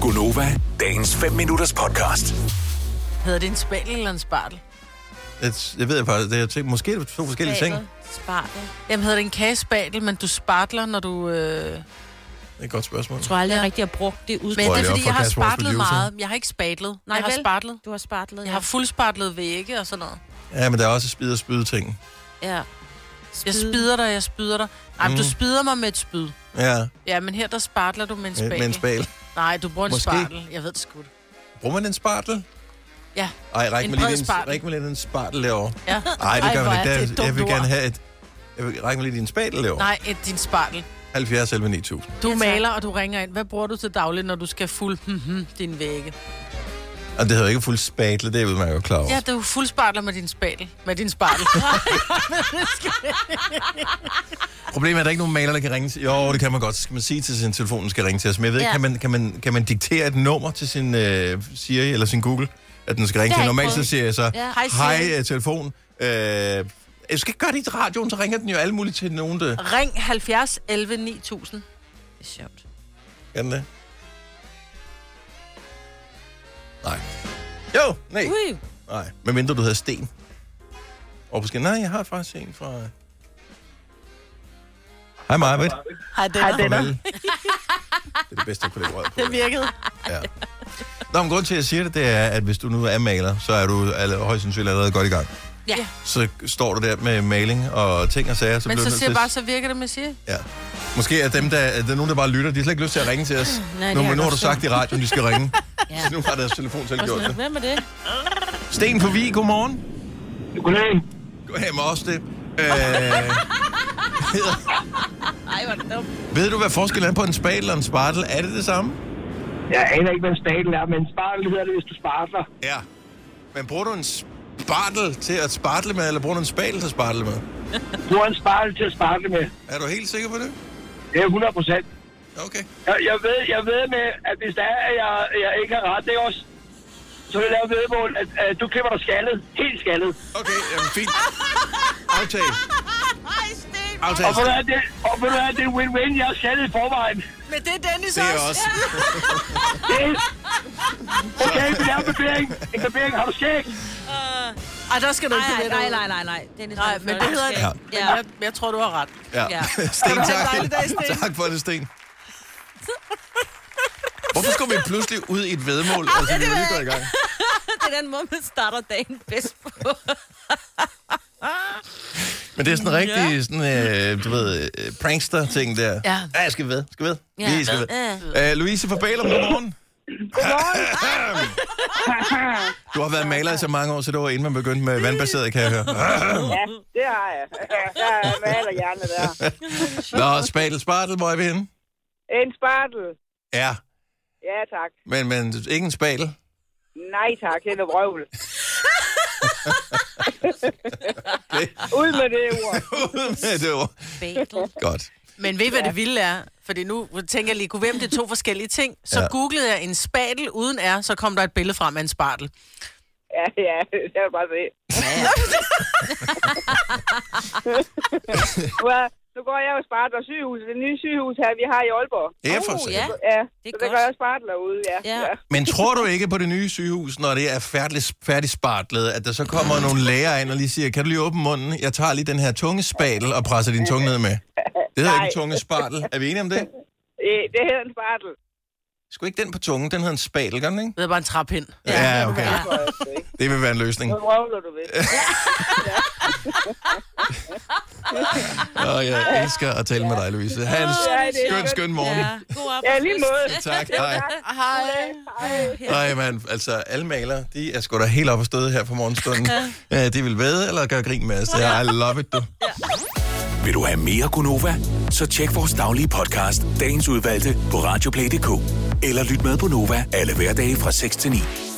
Gunova, dagens 5 minutters podcast. Hedder det en spændel eller en spartel? Et, jeg ved faktisk, det er ting, måske er det to forskellige ting. Det Spartel. Jamen hedder det en kagespætel, men du spartler, når du... Øh... er et godt spørgsmål. Jeg tror aldrig, jeg rigtig har brugt det Men udtryk. Prøv det er lige at fordi, få jeg har Kasper også på spartlet producer. meget. Jeg har ikke spatlet. Nej, jeg har vel? spartlet. Du har spartlet, Jeg har fuldspartlet vægge og sådan noget. Ja, men der er også spid og spyd ting. ja. Jeg spider dig, jeg spyder dig. Nej, mm. du spider mig med et spyd. Ja, Ja, men her der spartler du med en med, spætel. med en spal. Nej, du bruger en Måske. spartel. Jeg ved det sgu. da. Bruger man en spartel? Ja. Ej, ræk En mig lige bred din, spartel. ræk mig lige din spartel derovre. ja. Nej, det Ej, gør hvor man er ikke. det et Der, jeg dumt vil gerne ord. have et... Jeg vil række mig lige din spadel derovre. Nej, et, din spartel. 70 11 9000. Du Ja, tak. maler, og du ringer ind. Hvad bruger du til daglig, når du skal fuld din vægge? Og det hedder ikke fuld spadle, det er man jo klar over. Ja, det er jo fuldspartler med din spadel. Med din spartel. Problemet er, at der ikke er nogen maler, der kan ringe til... Jo, det kan man godt. Så skal man sige til sin telefon, den skal ringe til os. Men jeg ved ikke, Ja. kan man, kan, man, kan man diktere et nummer til sin øh, Siri eller sin Google, at den skal Det ringe har til? jeg Normalt ikke så prøvet. siger jeg så, Ja. Hej, Siri. hej øh, telefon. Øh, jeg skal ikke gøre det i radioen, så ringer den jo alle muligt til nogen, der Ring 70 11 9000. Det er sjovt. kan det. Nej. Jo, nej. Ui. Nej, medmindre du hedder Sten. Og måske, nej, jeg har faktisk en fra... Hej, Marvitt. Hej, Denner. Farvel. Det er det bedste, jeg kunne lægge rød på. Det virkede. Ja. Nå, men grunden til, at jeg siger det, det er, at hvis du nu er maler, så er du alle, højst sandsynligt allerede godt i gang. Ja. Så står du der med maling og ting og sager, så Men bliver så du nødt siger jeg til- bare, så virker det med siger. Ja. Måske er dem, der, er der nogen, der bare lytter, de har slet ikke lyst til at ringe til os. Nej, nu, det er men nu har du godt sagt i radioen, de skal ringe. Ja. Så nu har deres telefon selv gjort det. Hvem er det? Sten på Vi, godmorgen. Goddag. Goddag med os, det. Øh, Ej, hvor er det dumt. ved du, hvad forskellen er på en spadel og en spartel? Er det det samme? Jeg aner ikke, hvad en statel er, men spartel hedder det, hvis du spartler. Ja. Men bruger du en spartel til at spartle med, eller bruger du en spadel til at spartle med? Bruger en spartel til at spartle med. Er du helt sikker på det? Det er 100 procent. Okay. Jeg, jeg, ved, jeg ved med, at hvis der er, at jeg, jeg ikke har ret, det er også, så vil jeg lave vedmål, at, at du klipper dig skaldet. Helt skaldet. Okay, jamen fint. Aftale. Aftale. Og ved du hvad, det, og ved du hvad, det er win-win. Jeg er skaldet i forvejen. Men det er Dennis Det er også. Det er... Okay, vi laver en barbering. En barbering. Har du skæg? Ej, der skal du ikke Nej, bevæge nej, dig nej, nej, nej. Dennis, Nej, men det hedder Ja. det. Ja. Ja. Jeg, jeg tror, du har ret. Ja. Ja. Sten, tak. dejlig dag, Sten. Tak for det, Sten. Hvorfor skal vi pludselig ud i et vedmål? Altså, vi er jo lige gået i gang. Det er den måde, man starter dagen bedst på. Men det er sådan en rigtig, sådan, øh, du ved, øh, prankster-ting der. Ja. ja. jeg skal ved, skal ved. Ja. Vi skal ved. Øh, Louise fra Bælum, godmorgen. Godmorgen. du har været maler i så mange år, så det var inden man begyndte med vandbaseret, kan jeg høre. Ja, det har jeg. Jeg maler gerne der. Nå, spadel, spartel, hvor er vi henne? En spartel. Ja, Ja, tak. men, men ingen spadel. Nej tak, det er noget vrøvl. Det- Ud med det ord. det var Bagel. godt. Men ved I, hvad det vilde er? Fordi nu tænker jeg lige, kunne hvem det er to forskellige ting? Så Ja. ja. googlede jeg en spatel uden er, så kom der et billede frem af en spartel. Ja, ja, det kan du bare se. Nu er- Nu går jeg jo spartler sygehus. Det nye sygehus her, vi har i Aalborg. Ja, for Oh, oh, ja. Ja, Det er så der godt. gør jeg spartler ude, ja. Ja. ja. Men tror du ikke på det nye sygehus, når det er færdigt, færdigt spartlet, at der så kommer nogle læger ind og lige siger, kan du lige åbne munden? Jeg tager lige den her tungespadel og presser din tunge ned med. Det hedder ikke Nej. en tungespartel. Er vi enige om det? Øh, Det hedder en spartel. Sgu ikke den på tungen, den hedder en spadel, gør den ikke? Det er bare en trappind. Ja, okay. Det tror jeg sgu ikke. Det vil være en løsning. Nu vrøvler du ved. Og jeg elsker at tale med dig, Louise. Ha' en Ja, det er skøn, godt. skøn morgen. Ja, god op. Ja, i lige måde. Tak, hej. Hej. Nej, men altså, alle malere, de er sgu da helt oppe at støde her på morgenstunden. Ja, de vil væde eller gøre grin med os. Det er, I love it, du. Vil du have mere Gunova? Så tjek vores daglige podcast, dagens udvalgte, på radioplay.dk. Eller lyt med på Nova alle hverdage fra 6 til 9.